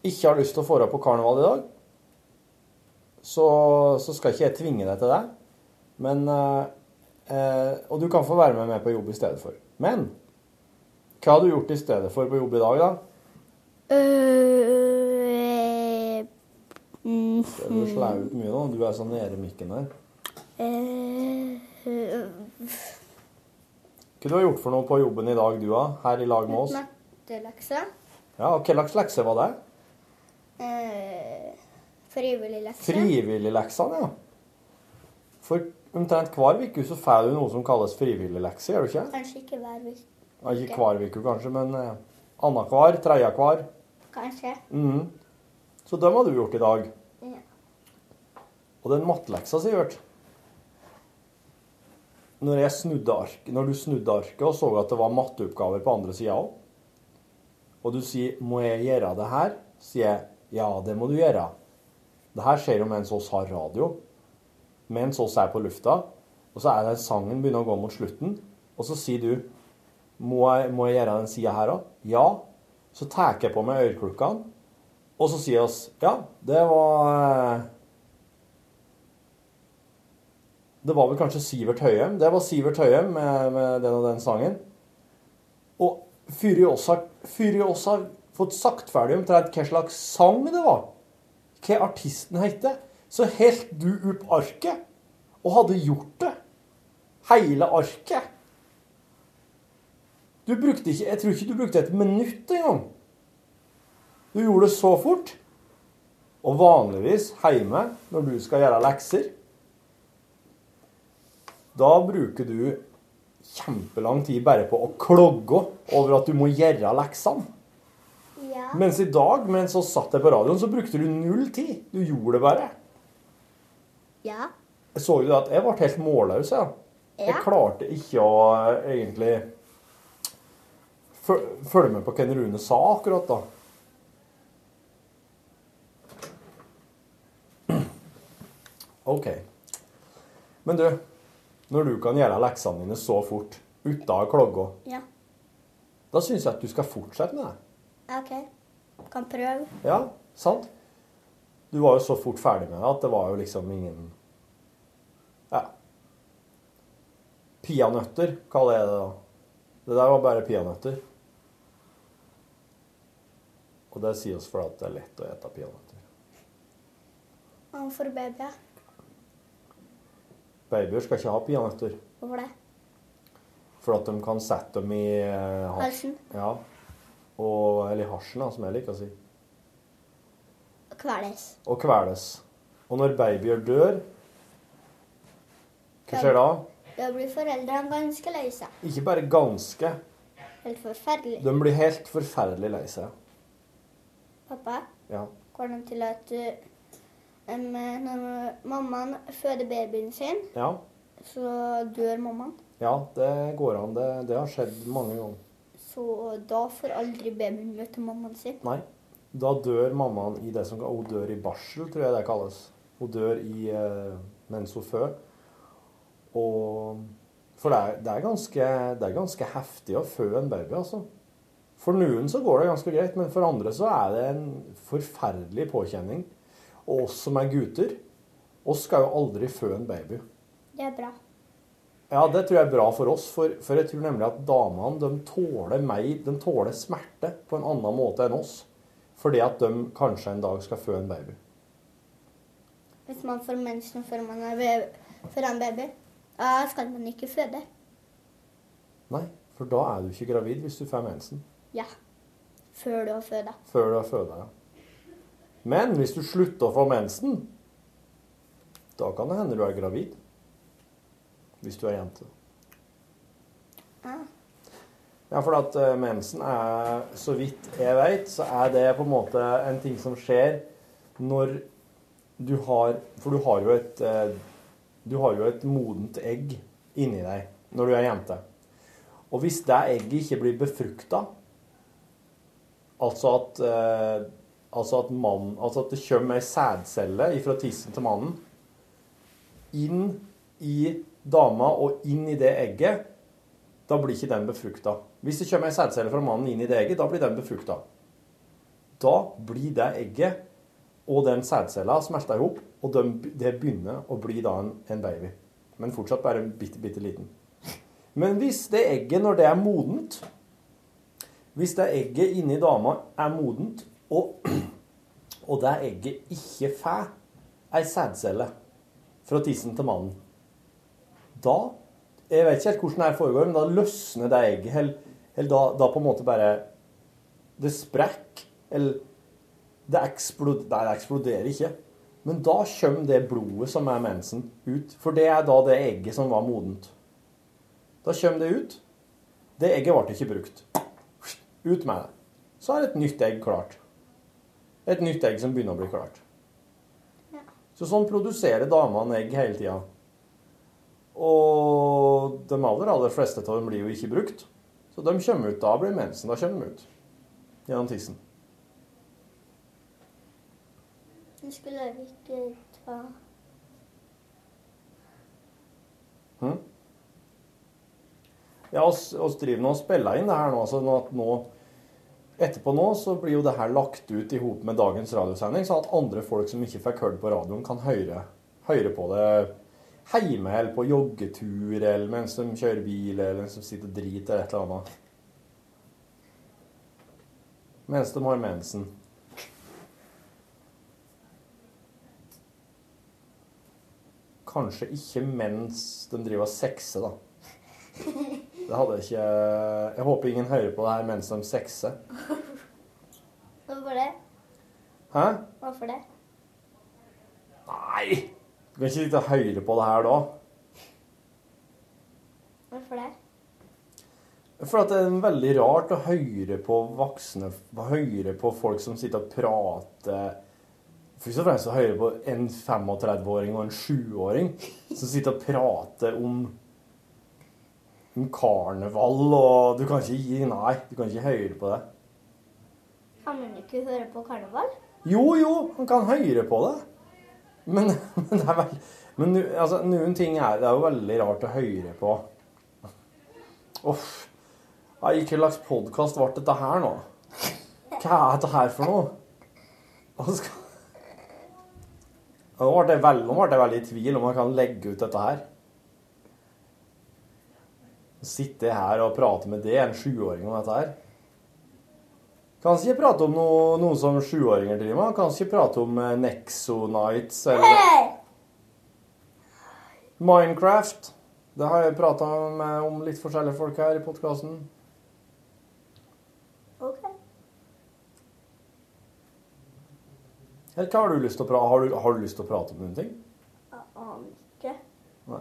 S4: ikke har lyst til å dra på karneval i dag, så, så skal ikke jeg tvinge deg til det. Men eh, eh, Og du kan få være med meg på jobb i stedet for. Men Hva har du gjort i stedet for på jobb i dag, da?
S12: Øh, eh,
S4: Det er Du slår ut mye nå. Du er så nede i mikken der.
S12: eh, øh,
S4: Hva du har gjort for noe på jobben i dag, du, da? Her i
S12: eh,
S4: lag med oss?
S12: Mattelekse.
S4: Ja, og Hva slags lekse var det?
S12: Eh, frivillig lekse.
S4: Frivilligleksene, ja. For omtrent hver uke så får du noe som kalles frivilliglekse, gjør du ikke?
S12: Kanskje ikke hver uke.
S4: Ja, ikke hver uke kanskje, men eh, annenhver, tredjehver.
S12: Kanskje.
S4: Mhm. Så dem har du gjort i dag.
S12: Ja.
S4: Og den matteleksa, Sivert Når jeg snudde ark, når du snudde arket og så at det var matteoppgaver på andre sida òg, og du sier 'må jeg gjøre det her', sier jeg 'ja, det må du gjøre'. Det her skjer jo mens oss har radio, mens oss er på lufta, og så er det sangen begynner å gå mot slutten, og så sier du må jeg, må jeg gjøre den sida her òg? Ja. Så tar jeg på meg øreklokkene, og så sier oss Ja, det var eh, Det var vel kanskje Sivert Høyem. Det var Sivert Høyem med, med den og den sangen. Og før vi også har- før vi også har fått sagt ferdig omtrent hva slags sang det var, hva artisten heter, så helt du opp arket og hadde gjort det. Hele arket. Du brukte ikke, jeg tror ikke du brukte et minutt engang. Du gjorde det så fort. Og vanligvis hjemme, når du skal gjøre lekser, da bruker du kjempelang tid bare på å klogge over at du må gjøre leksene.
S12: Ja.
S4: Mens i dag, mens vi satt der på radioen, så brukte du null tid. Du gjorde det bare.
S12: Ja.
S4: Jeg så jo at jeg ble helt målløs, jeg.
S12: Ja.
S4: Jeg klarte ikke å eh, egentlig føl- følge med på hva Rune sa akkurat da. [CLEARS THROAT] OK. Men du, når du kan gjøre leksene dine så fort uten å ha klogga,
S12: Ja.
S4: da syns jeg at du skal fortsette med det.
S12: OK. Kan prøve.
S4: Ja, sant? Du var jo så fort ferdig med det at det var jo liksom ingen Ja. Peanøtter kaller jeg det da. Det der var bare peanøtter. Og det sier oss fordi at det er lett å ete peanøtter.
S12: Han får babyer.
S4: Babyer skal ikke ha peanøtter,
S12: Hvorfor det?
S4: for at de kan sette dem i eh,
S12: Halsen.
S4: Ja. Og, eller i hasjen, da, som jeg liker å si.
S12: Kveles.
S4: Og kveles. Og når babyer dør, hva skjer da?
S12: Da blir foreldrene ganske lei seg.
S4: Ikke bare ganske.
S12: Helt forferdelig.
S4: De blir helt forferdelig lei seg.
S12: Pappa,
S4: Ja.
S12: går det til at eh, em, når mammaen føder babyen sin,
S4: ja.
S12: så dør mammaen.
S4: Ja, det går an. Det, det har skjedd mange ganger.
S12: Så da får aldri babyen møte mammaen sin.
S4: Nei. Da dør mammaen i det som Hun dør i barsel, tror jeg det kalles. Hun dør i eh, mens hun føder. Og For det er, det, er ganske, det er ganske heftig å fø en baby, altså. For noen så går det ganske greit, men for andre så er det en forferdelig påkjenning. Og oss som er gutter, oss skal jo aldri fø en baby.
S12: Det er bra.
S4: Ja, det tror jeg er bra for oss, for, for jeg tror nemlig at damene de tåler mer, de tåler smerte på en annen måte enn oss. Fordi at de kanskje en dag skal føde en baby.
S12: Hvis man får mensen før man er ve- før en baby, da skal man ikke føde.
S4: Nei, for da er du ikke gravid hvis du får mensen
S12: Ja. Før du har føda.
S4: før du har føda. Ja. Men hvis du slutter å få mensen, da kan det hende du er gravid. Hvis du er jente.
S12: Ja.
S4: Ja, for at eh, mensen er, så vidt jeg vet, så er det på en måte en ting som skjer når du har For du har jo et eh, Du har jo et modent egg inni deg når du er jente. Og hvis det egget ikke blir befrukta, altså at eh, Altså at mannen Altså at det kommer ei sædcelle fra tissen til mannen inn i dama og inn i det egget, da blir ikke den befrukta. Hvis det kommer ei sædcelle fra mannen inn i det egget, da blir den befrukta. Da blir det egget og den sædcella smelta i hop, og de, det begynner å bli da en, en baby. Men fortsatt bare en bitte, bitte liten. Men hvis det egget, når det er modent, Hvis det egget inni dama er modent, og, [CLEARS THROAT] og det egget ikke får ei sædcelle fra tissen til mannen, da Jeg vet ikke helt hvordan det her foregår, men da løsner det egget. Eller, eller da, da på en måte bare Det sprekker. Eller det eksploderer Nei, det eksploderer ikke. Men da kommer det blodet som er mensen, ut. For det er da det egget som var modent. Da kommer det ut. Det egget ble ikke brukt. Ut med det. Så er et nytt egg klart. Et nytt egg som begynner å bli klart. Så sånn produserer damene egg hele tida. Og de aller, aller fleste av dem blir jo ikke brukt. Så de kommer ut. Da blir mensen. Da kommer de ut. Gjennom tissen.
S12: Nå skulle vi ikke ta
S4: Ja, oss, oss driver nå og spiller inn det her nå, så nå at nå Etterpå nå så blir jo det her lagt ut i hop med dagens radiosending, sånn at andre folk som ikke fikk hørt på radioen, kan høre, høre på det hjemme eller på joggetur eller mens de kjører bil eller mens de sitter og driter eller et eller annet. Mens de har mensen. Kanskje ikke mens de driver og sexer, da. Det hadde ikke Jeg håper ingen hører på det her mens de sexer.
S12: Hvorfor det?
S4: Hæ?
S12: Hvorfor det?
S4: Nei! Du kan ikke sitte og høre på det her da.
S12: Hvorfor det?
S4: For at det er veldig rart å høre på voksne Høre på folk som sitter og prater Først og fremst å høre på en 35-åring og en 7-åring som sitter og prater om om karneval og Du kan ikke gi Nei, du kan ikke høre på det.
S12: Kan man ikke høre på karneval?
S4: Jo, jo, han kan høre på det. Men, [LAUGHS] men det er vel Men nu- altså, noen ting er Det er jo veldig rart å høre på. Uff. Ja, I hva slags podkast ble dette her nå? Hva er dette her for noe? Hva skal Nå ble jeg veld- nå ble jeg veldig i tvil om jeg kan legge ut dette her. Å sitte her og prate med det, en sjuåring om dette her. Kan ikke prate om noe, noe som sjuåringer driver med. Kan ikke prate om eh, Nexonites eller Minecraft. Det har jeg prata med om litt forskjellige folk her i podkasten.
S12: OK.
S4: Eller hva har du lyst til å prate har, du- har du lyst til å prate om noen ting?
S12: Jeg aner ikke.
S4: Nei.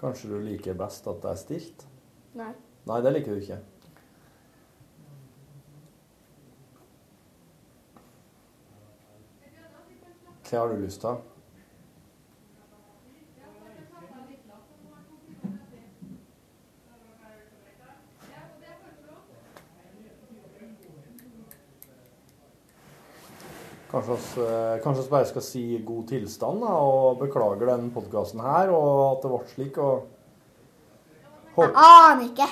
S4: Kanskje du liker best at det er stilt?
S12: Nei.
S4: Nei, det liker du ikke. Hva har du lyst til? Kanskje oss, eh, kanskje oss bare skal si god tilstand da, og beklager den podkasten her, og at det ble slik. Og
S12: Jeg aner ikke.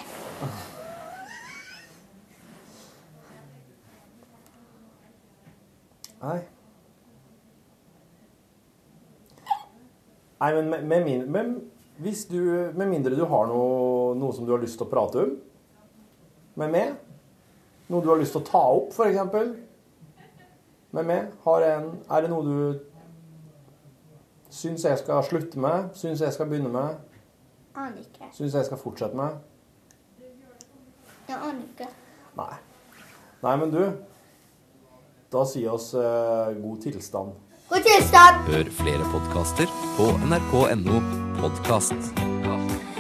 S4: Nei. Nei, men med, med, min, men hvis du, med mindre du har noe, noe som du har lyst til å prate om med meg, noe du har lyst til å ta opp, for eksempel, med meg, har en, er det noe du syns jeg skal slutte med, syns jeg skal begynne med,
S12: Aner ikke.
S4: syns jeg skal fortsette med?
S12: Jeg aner ikke.
S4: Nei. Nei, men du, da sier oss eh, god tilstand.
S12: God tilstand!
S13: Hør flere podkaster på nrk.no podkast.